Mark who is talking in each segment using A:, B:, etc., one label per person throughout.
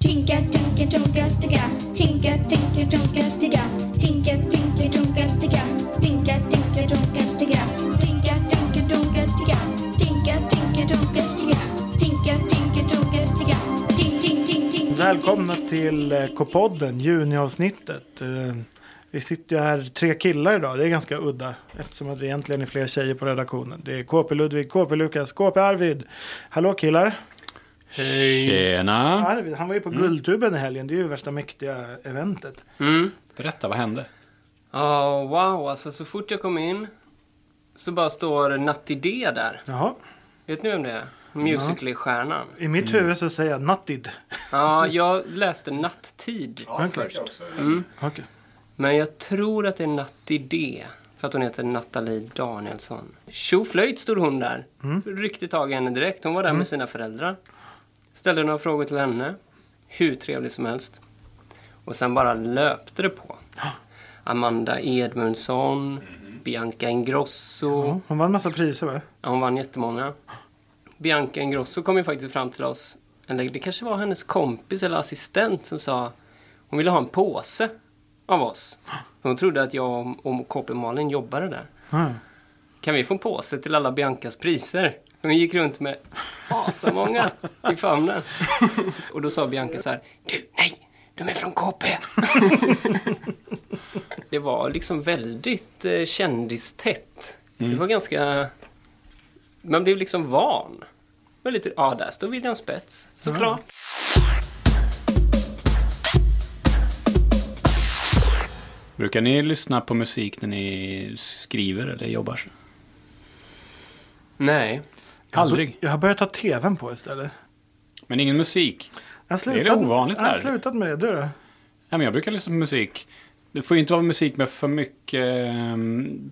A: Tinka, tinka, tonka, ticka. Tinka, tinka, tonka, ticka. Tinka, tinka, tonka, ticka. Tinka, tinka, tonka, ticka. Tinka, tinka, tonka, ticka. Tinka, tinka, tonka, ticka. Tinka, tinka, tonka, ticka. Tink, tink, tink, tink.
B: Välkomna till eh, K-podden, juniavsnittet. Eh, Vi sitter ju här tre killar idag, det är ganska udda eftersom att vi egentligen är fler tjejer på redaktionen. Det är KP Ludvig, KP Lukas, KP Arvid. Hallå killar!
C: Tjena!
B: Arvid, han var ju på
C: Mm.
B: Guldtuben i helgen, det är ju värsta mäktiga eventet.
D: Mm.
C: Berätta, vad hände?
D: Ja, wow, alltså så fort jag kom in så bara står Natti D där.
B: Jaha,
D: Vet ni vem det är? Musical.ly-stjärnan.
B: i mitt
C: Mm.
B: huvud så säger jag nattid.
D: Ja, jag läste Nattid först. Mm.
B: Okej.
D: Men jag tror att det är Natti D. För att hon heter Nathalie Danielsson. Tjoflöjt stod hon där. Ryckte tag i henne direkt. Hon var där med sina föräldrar. Ställde några frågor till henne. Hur trevlig som helst. Och sen bara löpte det på. Amanda Edmundsson. Bianca Ingrosso.
B: Ja, Hon vann massa priser va?
D: Ja, hon vann jättemånga. Bianca Ingrosso kom ju faktiskt fram till oss. Eller det kanske var hennes kompis eller assistent som sa hon ville ha en påse av oss. Hon trodde att jag och KP Malin jobbade där.
B: Ja.
D: Kan vi få en påse till alla Biancas priser? Hon gick runt med asamånga i famnen. Och då sa Bianca så här. Du, nej! De är från KP! Det var liksom väldigt eh, kändistätt. Det var ganska... Man blev liksom van. Det var lite, ja, där står William Spets, såklart.
C: Brukar ni lyssna på musik när ni skriver eller jobbar?
D: Nej.
B: Jag har bo-
C: Aldrig.
B: Jag har börjat ta tvn på istället.
C: Men ingen musik?
B: Jag har
C: Det är
B: slutat,
C: det ovanligt
B: jag har
C: här.
B: slutat med det, du då?
C: Nej, men jag brukar lyssna på musik. Det får ju inte vara musik med för mycket eh,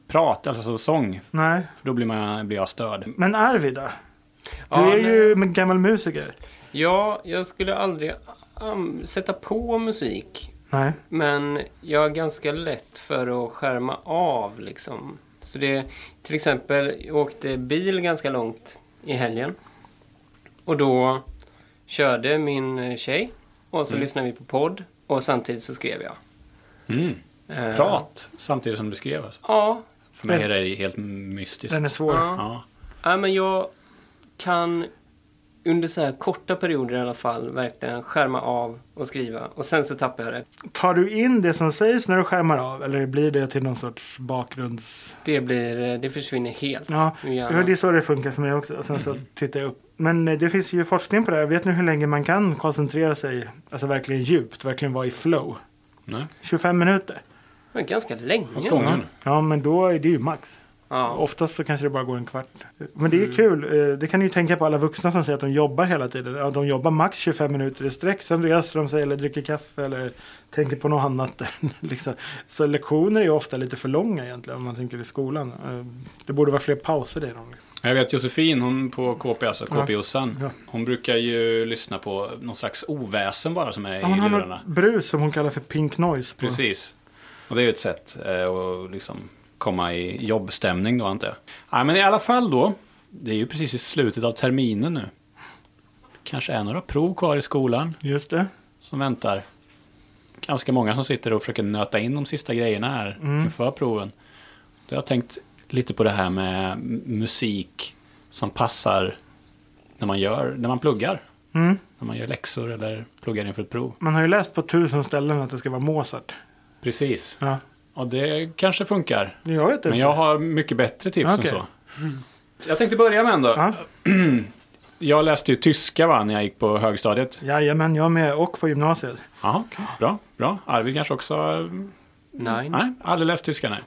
C: prat, alltså sång.
B: Nej.
C: För då blir, man, blir jag störd.
B: Men Arvid då? Du
D: Ja,
B: är
D: nej.
B: ju en gammal musiker.
D: Ja, jag skulle aldrig um, sätta på musik
B: Nej.
D: Men jag är ganska lätt för att skärma av liksom. Så det, till exempel, jag åkte bil ganska långt i helgen. Och då körde min eh, tjej och så lyssnade vi på podd och samtidigt så skrev jag.
C: Mm.
D: Eh,
C: Prat samtidigt som du skrev. Alltså.
D: Ja,
C: För mig är det helt mystiskt.
B: Den är svår.
D: Ja.
C: Ja.
D: ja, men jag kan under så här korta perioder i alla fall verkligen skärma av och skriva och sen så tappar jag det.
B: Tar du in det som sägs när du skärmar av eller blir det till någon sorts bakgrunds...
D: Det, blir, eh, det försvinner helt
B: Ja,
D: ur
B: ja.
D: hjärnan.
B: det är så det funkar för mig också. Och sen
D: Mm.
B: så tittar jag upp. Men eh, det finns ju forskning på det här. Vet ni hur länge man kan koncentrera sig, alltså verkligen djupt, verkligen vara i flow?
C: Nej.
B: 25 minuter.
D: Men ganska länge.
C: Åt gången.
B: Ja, men då är det ju max.
D: Ja.
B: Oftast så kanske det bara går en kvart. Men det är
C: Mm.
B: kul. Eh, Det kan ni ju tänka på alla vuxna som säger att de jobbar hela tiden. Ja, de jobbar max 25 minuter i sträck. Sen reser de sig eller dricker kaffe eller tänker på något annat. liksom. Så lektioner är ju ofta lite för långa egentligen om man tänker i skolan. Eh, Det borde vara fler pauser i dem. liksom.
C: Jag vet Josefin, hon på KP, alltså
B: Ja.
C: KP-jossan.
B: Ja.
C: Hon brukar ju lyssna på någon slags oväsen bara som är
B: Ja, hon
C: i
B: har
C: lurarna.
B: något brus som hon kallar för pink noise. På.
C: Precis. Och det är ju ett sätt eh, att liksom komma i jobbstämning då antar jag. Ja, men i alla fall då. Det är ju precis i slutet av terminen nu. Kanske är några prov kvar i skolan
B: Just det.
C: som väntar. Ganska många som sitter och försöker nöta in de sista grejerna här inför proven. Då har jag tänkt lite på det här med m- musik som passar när man, gör, när man pluggar.
B: Mm.
C: När man gör läxor eller pluggar inför ett prov.
B: Man har ju läst på tusen ställen att det ska vara Mozart.
C: Precis.
B: Ja.
C: Och det kanske funkar.
B: Jag vet inte.
C: Men jag har mycket bättre tips
B: Typ. Okej.
C: än så. Så Jag tänkte börja med en då.
B: Ja.
C: Jag läste ju tyska va, när jag gick på högstadiet.
B: Jajamän, jag med. Och på gymnasiet.
C: Ja, bra, bra. Arvid kanske också... har-
D: Nej.
C: Nej, aldrig läst tyska nej.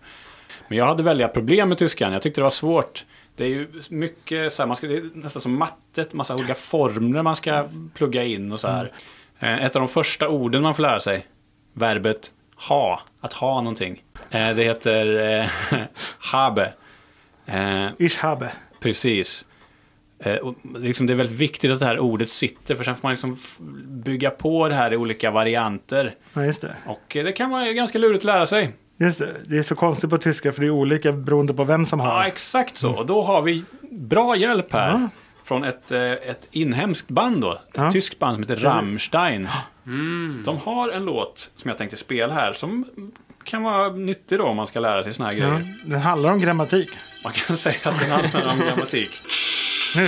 C: Men jag hade väldiga problem med tyskan. Jag tyckte det var svårt. Det är ju mycket så här, man ska, det är nästan som mattet, massa olika formler man ska plugga in och så här.
B: Mm.
C: Eh, Ett av de första orden man får lära sig, verbet ha, att ha någonting. Eh, Det heter eh, habe. Eh,
B: Ich habe.
C: Precis. Eh, och liksom det är väldigt viktigt att det här ordet sitter för sen får man liksom f- bygga på det här i olika varianter.
B: Ja, just det.
C: Och eh, det kan vara ganska lurigt att lära sig.
B: Just det, det är så konstigt på tyska för det är olika beroende på vem som har.
C: Ja,
B: det.
C: exakt så. Och då har vi bra hjälp här.
B: Mm. Ja.
C: från ett, eh, ett inhemskt band då. Ett
B: Ja.
C: tyskt band som heter Rammstein. De har en låt som jag tänkte spela här som kan vara nyttig då om man ska lära sig såna här
B: Ja,
C: grejer.
B: den handlar om grammatik.
C: Man kan säga att den handlar om grammatik.
B: Nu.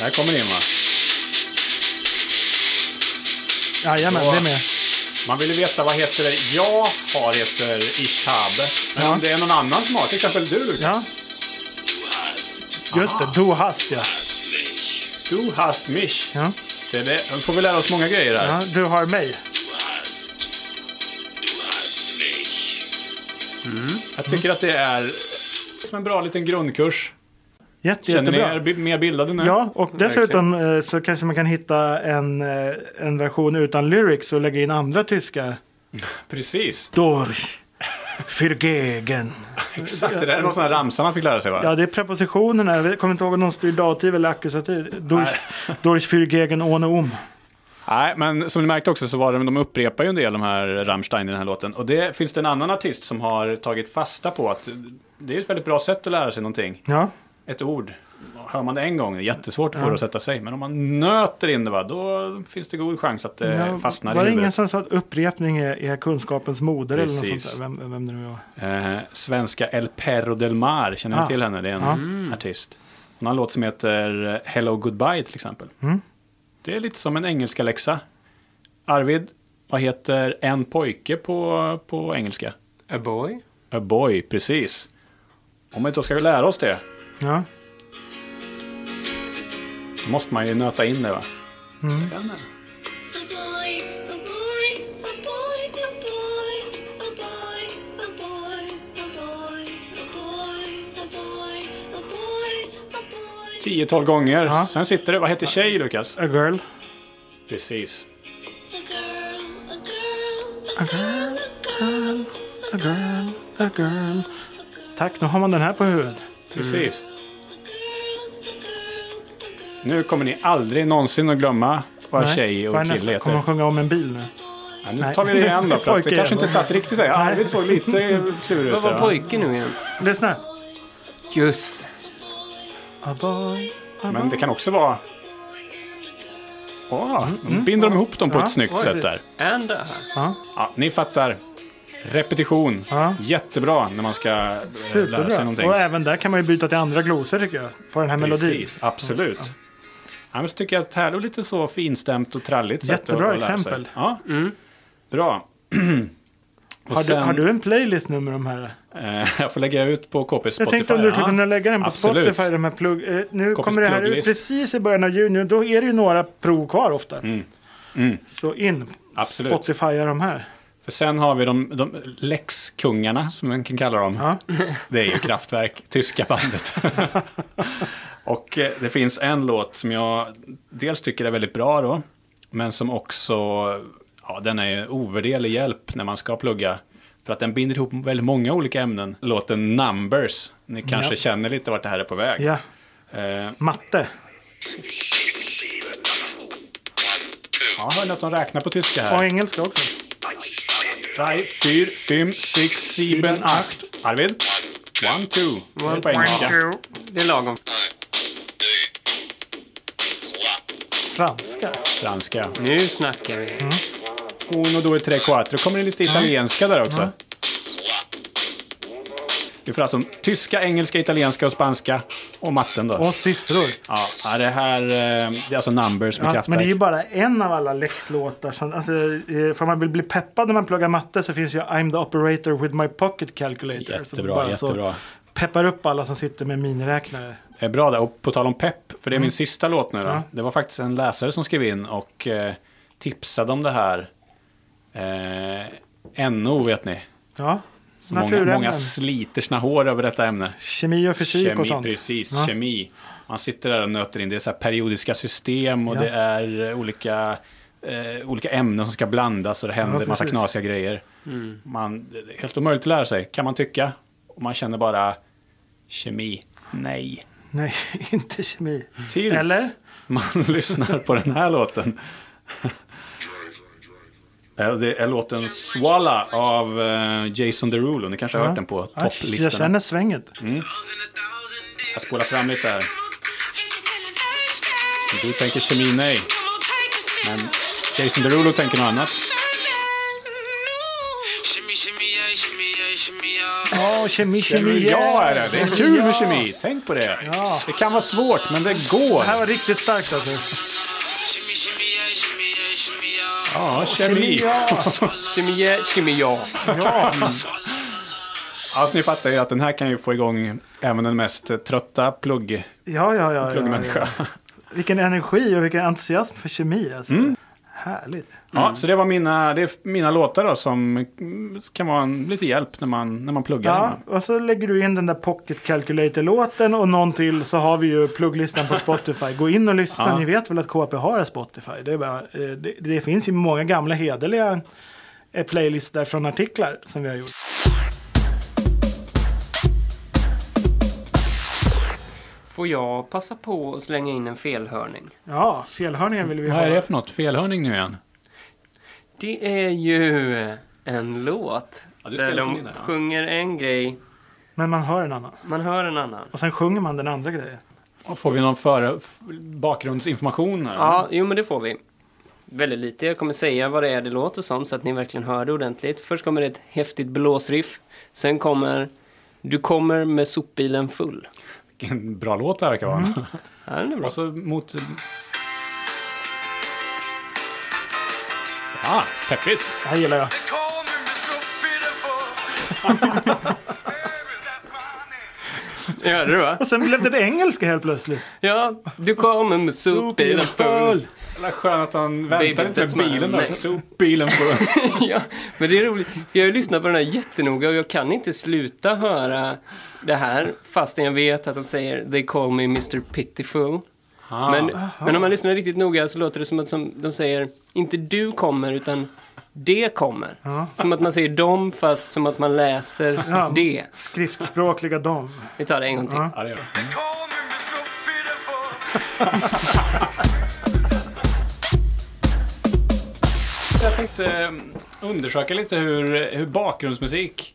C: Där kommer det in va?
B: Jajamän,
C: Så.
B: det är med.
C: Man vill ju veta vad heter det jag har heter Ishab. Men
B: Ja.
C: om det är någon annan som har, till exempel du Lukas.
B: Ja. Just det, du hast ja.
C: Du hast mich.
B: ja.
C: Så det, får vi lära oss många grejer där.
B: ja. Du har mig.
C: Jag tycker att det är som en bra liten grundkurs.
B: Jätte,
C: Känner ni er
B: jättebra.
C: bi- mer bildade nu? Mm,
B: Ja, och
C: Verkligen.
B: dessutom eh, så kanske man kan hitta en, eh, en version utan lyrics och lägga in andra tyska.
C: Precis.
B: Durch. Für gegen.
C: Exakt, det där är någon sån här ramsa man fick lära sig va?
B: Ja, det är prepositionerna. Jag kommer inte ihåg om de styr dativ eller akkusativ. Durch, durch für gegen ohne um.
C: Nej, men som ni märkte också så var det, de upprepar ju en del de här Rammstein i den här låten. Och det finns det en annan artist som har tagit fasta på att det är ett väldigt bra sätt att lära sig någonting.
B: Ja,
C: Ett ord. Hör man det en gång, det är jättesvårt att få det att sätta sig. Men om man nöter in det va, då finns det god chans att det
B: ja
C: Eh, fastnar i
B: var det
C: huvudet.
B: ingen som sa att upprepning är, är kunskapens moder eller något
C: Precis.
B: sånt där? Vem, vem det nu var.
C: Eh, svenska El Perro del Mar, känner ni
B: Ah.
C: till henne? Det är en
B: Ah.
C: artist. Hon har en låt som heter eh, Hello Goodbye till exempel.
B: Mm.
C: Det är lite som en engelska läxa. Arvid, vad heter en pojke på, på engelska?
D: A boy?
C: A boy, precis. Om vi då ska lära oss det,
B: Ja.
C: då måste man ju nöta in det va?
B: Mm.
C: Det är en-
A: A boy, a boy, a boy, a boy, a boy, a boy, a boy, a boy, a boy, a boy, a boy.
C: 10-12 gånger.
B: Ja.
C: Sen sitter det, vad heter tjej Lukas?
B: A girl.
C: Precis.
A: A girl, a girl,
B: A girl, girl, a girl, a girl. Tack, nu har man den här på huvudet.
C: Precis.
A: a girl, a girl, a girl,
C: Nu kommer ni aldrig någonsin att glömma vad
B: Nej,
C: tjej
B: vad
C: och
B: är
C: kille
B: nästa?
C: heter.
B: Kommer de sjunga om en bil nu?
C: Ja, nu
B: Nej.
C: tar vi det igen då, för att det
B: Pojke
C: kanske
B: igen.
C: inte satt riktigt där. Arvid såg lite klurig ut.
D: Vad var
C: där, va?
D: pojken nu igen?
B: Lyssna.
D: Just det.
B: A boy, a
C: Men det
B: boy.
C: kan också vara... Åh, nu binder de ihop dem på
B: Mm. Ja,
C: ett snyggt
B: precis.
C: sätt där.
D: And uh,
B: Ja,
C: Ja, ni fattar. Repetition.
B: Ja.
C: Jättebra när man ska eh, lära sig
B: superbra.
C: någonting.
B: Och även där kan man ju byta till andra glosor tycker jag. På den här melodin.
C: Precis, absolut. Ja, men så tycker jag att det här är lite så finstämt och tralligt sätt
B: Jättebra
C: att, att lära
B: exempel.
C: Sig. Ja, bra. Och
B: Har,
C: sen-
B: du, har du en playlist nu med de här?
C: eh, Jag får lägga ut på KP Spotify.
B: Jag tänkte om du skulle
C: ja.
B: kunna lägga den på
C: Absolut.
B: Spotify. De här plugg, eh, nu
C: Kompis
B: kommer det här ut
C: plugglist.
B: precis i början av juni. Då är det ju några prov kvar ofta.
C: Mm.
B: Så in.
C: Absolut.
B: Spotifya de här.
C: För sen har vi de, de läxkungarna, som man kan kalla dem.
B: Ja.
C: Det är ju Kraftwerk, tyska bandet. och eh, det finns en låt som jag dels tycker är väldigt bra då, men som också, ja den är ju ovärderlig hjälp när man ska plugga. För att den binder ihop väldigt många olika ämnen. Låten Numbers, ni kanske
B: Ja.
C: känner lite vart det här är på väg.
B: ja.
C: Eh,
B: Matte.
C: ja, hör ni att de räknar på tyska här?
B: Och engelska också.
C: Drei, fyr, fem, sex, sieben, acht. Arvid? One, two. Det är på engelska.
D: det är lagom.
B: Franska.
C: Franska.
D: Nu snackar vi.
C: Mm. Uno, due, tre, quattro. kommer det lite italienska där också. Vi får alltså tyska, engelska, italienska och spanska. Och matten då.
B: Och siffror.
C: Ja, ja, det här eh, det är alltså numbers med
B: Ja, men
C: kraftverk.
B: det är ju bara en av alla läxlåtar. Som, alltså, eh, för om man vill bli peppad när man pluggar matte så finns ju I'm the operator with my pocket calculator. som
C: Jättebra,
B: bara så
C: jättebra.
B: Peppar upp alla som sitter med miniräknare.
C: Det är bra där. Och på tal om pepp, för det är min sista låt nu då.
B: Mm. Ja.
C: Det var faktiskt en läsare som skrev in och eh, tipsade om det här. Eh, NO vet ni.
B: Ja,
C: Så Många, många sliter sina hår över detta ämne.
B: Kemi och fysik
C: kemi,
B: och sånt.
C: Precis,
B: Ja.
C: kemi. Man sitter där och nöter in. Det är så här periodiska system och
B: Ja.
C: det är eh, olika, eh, olika ämnen som ska blandas och det händer
B: Ja,
C: massa
B: precis.
C: knasiga grejer. Man, det är helt omöjligt att lära sig, kan man tycka. Och man känner bara kemi. Nej.
B: Nej, inte kemi.
C: Tills
B: Eller?
C: man lyssnar på den här låten. Eh, Det är låten Swalla av eh, Jason Derulo. Ni kanske har hört den på Mm.
B: Ja, Jag
C: topplistan.
B: känner svänget.
E: thousand days.
C: Jag spolar fram lite här. Du tänker kemi, nej. Men Jason Derulo tänker något annat.
B: Ja, kemi, kemi.
C: Ja, är det. det är kul med kemi. Tänk på det.
B: Ja.
C: Det kan vara svårt, men det går.
B: Det här var riktigt starkt alltså.
C: Ja, kemi.
B: ja.
D: Kemie, kemia.
C: Alltså, ni fattar ju att den här kan ju få igång även den mest eh, trötta plugg,
B: Ja, ja, ja, ja,
C: pluggmänniska.
B: ja. Vilken energi och vilken entusiasm för kemi alltså.
C: Mm.
B: Härligt.
C: Ja, så det var mina, det är mina låtar då som mm, kan vara en, lite hjälp när man, när man pluggar.
B: Ja,
C: hemma.
B: och så lägger du in den där Pocket Calculator-låten och någon till så har vi ju plugglistan på Spotify. Gå in och lyssna,
C: Ja.
B: ni vet väl att KP har en Spotify. Det, är bara, eh, det, det finns ju många gamla hederliga eh, playlistor från artiklar som vi har gjort.
D: Får jag passa på att slänga in en felhörning?
B: Ja, felhörningar vill vi
C: Vad är
B: ha.
C: det för något? Felhörning nu igen?
D: Det är ju en låt
C: Ja, du spelar
D: där
C: från din
D: de
C: där, ja.
D: sjunger en grej,
B: Men man hör en annan.
D: man hör en annan.
B: Och sen sjunger man den andra grejen.
C: Och Får vi någon före, f- bakgrundsinformation här?
D: Ja, jo men det får vi. Väldigt lite. Jag kommer säga vad det är det låter som så att ni verkligen hör det ordentligt. Först kommer det ett häftigt blåsriff. Sen kommer Du kommer med sopbilen full.
C: Vilken bra låt det här verkar vara.
B: Mm.
D: Ja, den är bra.
C: Och så mot... Ja, peppigt.
B: Det här gillar jag.
D: Hörde du va?
B: Och sen blev det på engelska helt plötsligt.
D: Ja, du kommer med sopbilen full.
C: Jävla skönt att han
D: Baby,
C: väntade inte
D: that's
C: med
D: mine.
C: bilen där.
D: Nej.
C: Sopbilen på...
D: ja, men det är roligt. Jag har ju lyssnat på den här jättenoga och jag kan inte sluta höra det här fastän jag vet att de säger They call me Mr Pitiful.
C: Ah,
D: Men, men om man lyssnar riktigt noga så låter det som att som de säger inte du kommer utan det kommer. Som att man säger dem fast som att man läser
B: Ja.
D: det.
B: Skriftspråkliga dam.
D: Vi tar det en gång till.
C: ja, det gör det. Jag tänkte eh, undersöka lite hur, hur bakgrundsmusik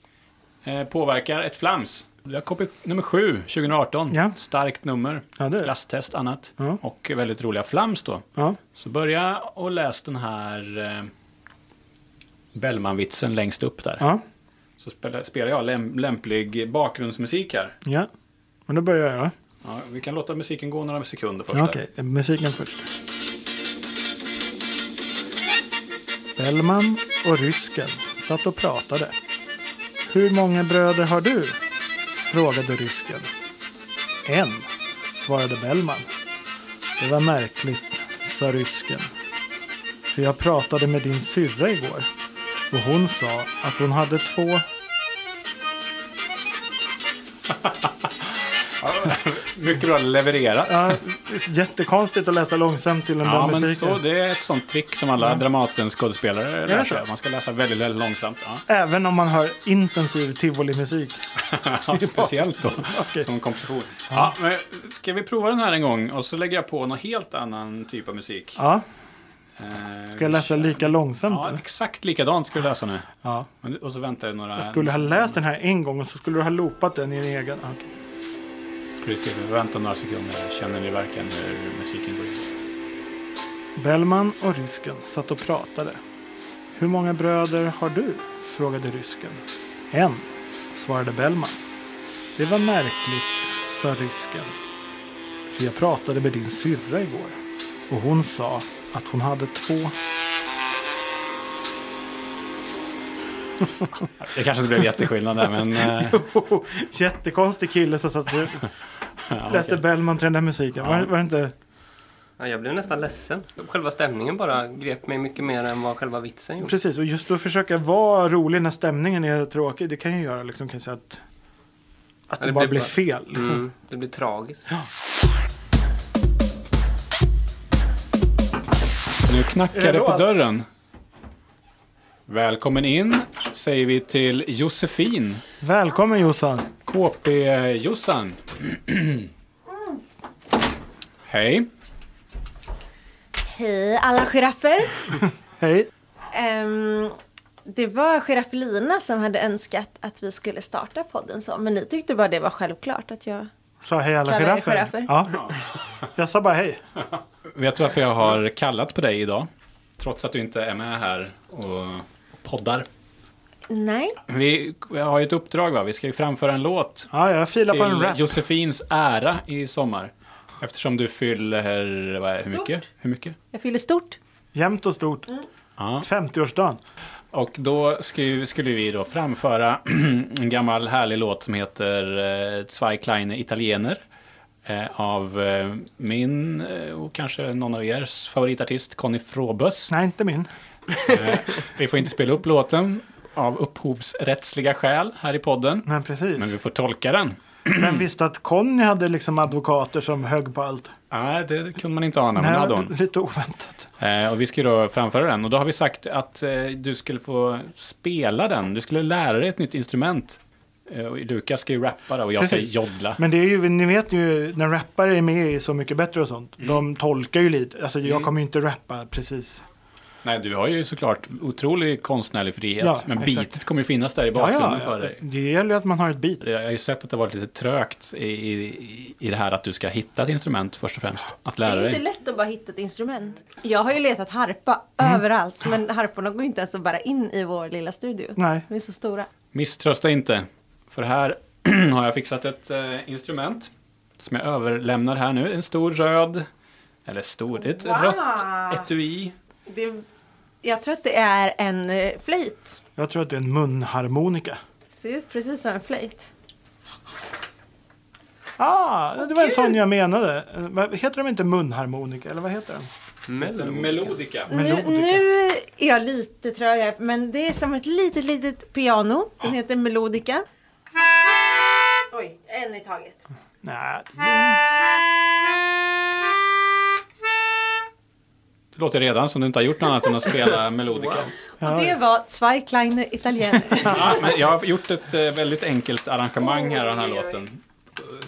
C: eh, påverkar ett flams. Vi har kopi nummer 7, 2018.
B: Ja.
C: Starkt nummer.
B: Ja, det är det.
C: Klasstest, annat.
B: Ja.
C: Och väldigt roliga flams då.
B: Ja.
C: Så börja och läs den här eh, Bellman-vitsen längst upp där.
B: Ja.
C: Så spelar, spelar jag läm- lämplig bakgrundsmusik här.
B: ja. Men då börjar jag.
C: Ja, vi kan låta musiken gå några sekunder först.
B: Ja,
C: där.
B: Okej, musiken först. Bellman och rysken satt och pratade. Hur många bröder har du? frågade rysken. En, svarade Bellman. Det var märkligt, sa rysken. För jag pratade med din syrra igår och hon sa att hon hade två.
C: Mycket bra levererat.
B: Ja, jättekonstigt att läsa långsamt till den där
C: Ja, men
B: musiken.
C: så, det är ett sånt trick som alla Dramaten-skådespelare lär
B: det
C: sig.
B: så?
C: Man ska läsa väldigt, väldigt långsamt. Ja.
B: Även om man hör intensiv tivolimusik.
C: speciellt då,
B: Okej.
C: som komposition. Ja, men ska vi prova den här en gång och så lägger jag på någon helt annan typ av musik?
B: Ja,
C: Eh,
B: ska jag läsa lika långsamt?
C: Ja,
B: eller?
C: exakt likadant ska du läsa nu.
B: Ja.
C: Men- Och så väntar jag några...
B: Jag skulle ha läst den här en gång och så skulle du ha loopat den i en egen. Okej.
C: Precis, vi väntar några sekunder. Känner ni verkligen hur musiken går in?
B: Bellman och rysken satt och pratade. Hur många bröder har du? frågade rysken. En, svarade Bellman. Det var märkligt, sa rysken. För jag pratade med din syrra igår och hon sa att hon hade två.
C: Det kanske inte blev jätteskillnad där, men... eh,
B: Jättekonstig kille som satt och
C: ja,
B: läste
C: okej.
B: Bellman till den där musiken. Var, var det inte?
D: Ja, jag blev nästan ledsen. Själva stämningen bara grep mig mycket mer än vad själva vitsen gjorde.
B: Precis, och just att försöka vara rolig när stämningen är tråkig, det kan ju göra liksom, kan jag säga att, att
D: Ja,
B: det,
D: det
B: bara
D: blir
B: blir
D: bara-
B: fel. Liksom.
D: Mm, det blir tragiskt.
C: Nu
B: Är
C: knackar
B: det
C: det på
B: låst?
C: dörren. Välkommen in, säger vi till Josefin,
B: Välkommen Jossan!
C: KP-Jossan. Hej.
E: Hej alla giraffer!
B: Hej!
E: Ehm, det var Giraffelina som hade önskat att vi skulle starta podden så, men ni tyckte bara det var självklart att jag
B: Sa hej alla
E: Kallar er
B: giraffer.
E: giraffer?
B: Ja. Jag sa bara hej.
C: Vet du varför jag har kallat på dig idag? Trots att du inte är med här och poddar.
E: Nej.
C: Vi har ju ett uppdrag va? Vi ska ju framföra en låt
B: Ja, jag filar på en
C: till
B: rap.
C: Josefins ära i sommar. Eftersom du fyller, vad är, hur
E: Stort.
C: mycket? Hur mycket?
E: Jag fyller stort.
B: Jämnt och stort.
C: Ja.
B: 50-årsdagen.
C: Och då skulle, skulle vi då framföra en gammal härlig låt som heter eh, Zwei kleine Italiener. Eh, av eh, min eh, och kanske någon av ers favoritartist Conny Fråbös.
B: Nej, inte min.
C: Vi får inte spela upp låten av upphovsrättsliga skäl här i podden.
B: Nej,
C: Men
B: precis.
C: vi får tolka den.
B: Men visste att Conny hade liksom advokater som högg på allt.
C: Nej, det kunde man inte ana, men det
B: Nej,
C: hade hon.
B: lite oväntat.
C: Eh, och vi ska ju då framföra den. Och då har vi sagt att eh, du skulle få spela den. Du skulle lära dig ett nytt instrument. Eh, och Lukas ska ju rappa då, och jag ska
B: Precis.
C: joddla.
B: Men det är ju, ni vet ju, när rappare är med i Så Mycket Bättre och sånt,
C: Mm.
B: de tolkar ju lite. Alltså jag kommer ju inte rappa precis.
C: Nej, du har ju såklart otrolig konstnärlig frihet.
B: Ja,
C: men
B: exakt.
C: beatet kommer ju finnas där i
B: Ja,
C: bakgrunden
B: ja,
C: för dig.
B: det gäller ju att man har ett beat.
C: Jag har ju sett att det har varit lite trögt i, i, i det här att du ska hitta ett instrument först och främst. Att
E: Det
C: lära
E: är inte
C: dig.
E: lätt att bara hitta ett instrument. Jag har ju letat harpa överallt men harporna går ju inte ens att bära in i vår lilla studio.
B: Nej.
E: De är så stora.
C: Misströsta inte. För här har jag fixat ett eh, instrument. Som jag överlämnar här nu. En stor röd. Eller stor. Ett
E: Wow!
C: rött etui.
E: Det, jag tror att det är en eh, flöjt.
B: Jag tror att det är en munharmonika.
E: Ser ut precis som en flöjt.
B: Ah, det var en sån jag menade. Eh, vad- Heter de inte munharmonika eller vad heter den?
C: En melodika.
E: Nu,
B: Melodica.
E: nu är jag lite trög här men det är som ett litet litet piano. Den heter Melodica. Oj, en i taget.
B: Nej,
C: Det låter redan som du inte har gjort något annat än att spela melodika.
E: Och det var Zwei kleine Italiener.
C: Ja, men jag har gjort ett eh, väldigt enkelt arrangemang här av den här
E: Oj, oj, oj.
C: låten.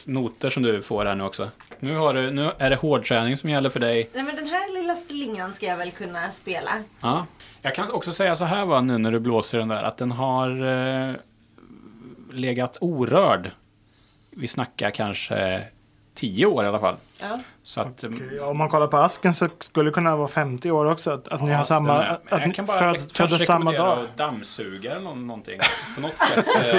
C: Noter som du får här nu också. Nu, har du, nu är det hårdträning som gäller för dig.
E: Nej men den här lilla slingan ska jag väl kunna spela.
C: Ja. Jag kan också säga så här va, nu när du blåser den där, att den har eh, legat orörd. Vi snackar kanske tio år i alla fall.
E: Ja.
C: Så att, eh,
B: okej. om man kollar på asken så skulle det kunna vara 50 år också. Att, att ni har
C: ja,
B: samma,
C: stämmer.
B: att,
C: jag
B: att
C: kan
B: ni
C: bara
B: föds,
C: kanske
B: föddes samma
C: rekommendera
B: dag.
C: att dammsuga eller nå- någonting. På något sätt. Eh,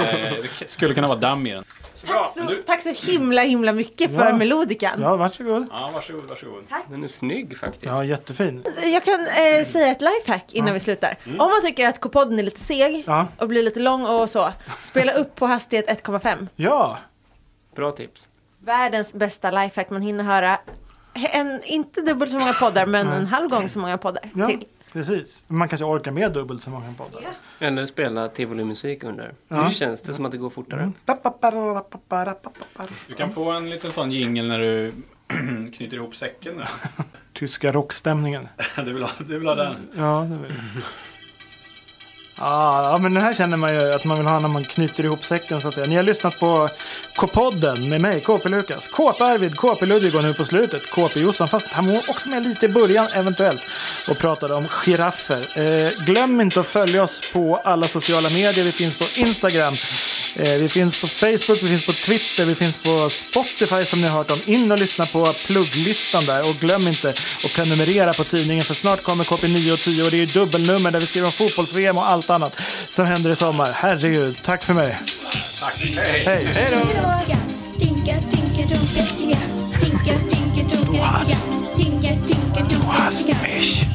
C: det skulle kunna vara damm i den. Så bra,
E: Tack så,
C: men du-
E: tack så himla himla mycket
B: Ja.
E: för melodikan.
B: Ja, varsågod.
C: Ja, varsågod, varsågod.
D: Den är snygg faktiskt.
B: Ja, jättefin.
E: Jag kan eh, säga ett lifehack innan vi slutar. Om man tycker att K-podden är lite seg
B: Ja.
E: och blir lite lång och så, spela upp på hastighet 1,5.
B: Ja,
D: Bra tips.
E: Världens bästa lifehack, man hinner höra en, inte dubbelt så många poddar men en halv gång så många poddar
B: ja
E: till.
B: precis. Man kanske orkar med dubbelt så många poddar.
E: Ja.
D: Eller spela tivolimusik under.
B: Ja. Mm.
D: Nu känns det som att det går fortare.
C: Du kan få en liten sån jingel när du knyter ihop säcken. där.
B: Tyska rockstämningen.
C: Du vill ha, du vill ha den?
B: Ja, det vill Ah, ja, men den här känner man ju att man vill ha när man knyter ihop säcken så att säga. Ni har lyssnat på K-podden med mig, KP Lukas. KP Arvid, KP Ludvig och nu på slutet KP Jossan. Fast han var också med lite i början eventuellt och pratade om giraffer. Eh, glöm inte att följa oss på alla sociala medier. Vi finns på Instagram, eh, vi finns på Facebook, vi finns på Twitter, vi finns på Spotify som ni har hört om. In och lyssna på plugglistan där och glöm inte att prenumerera på tidningen för snart kommer KP9 och 10 och det är ju dubbelnummer där vi skriver om fotbolls-VM och allt annat som händer i sommar. Herregud, tack för mig.
C: Tack.
B: Hej!
A: Tinka, tinka, dunka, tinka. Tinka, tinka, dunka, tinka. Tinka, tinka, dunka, tinka.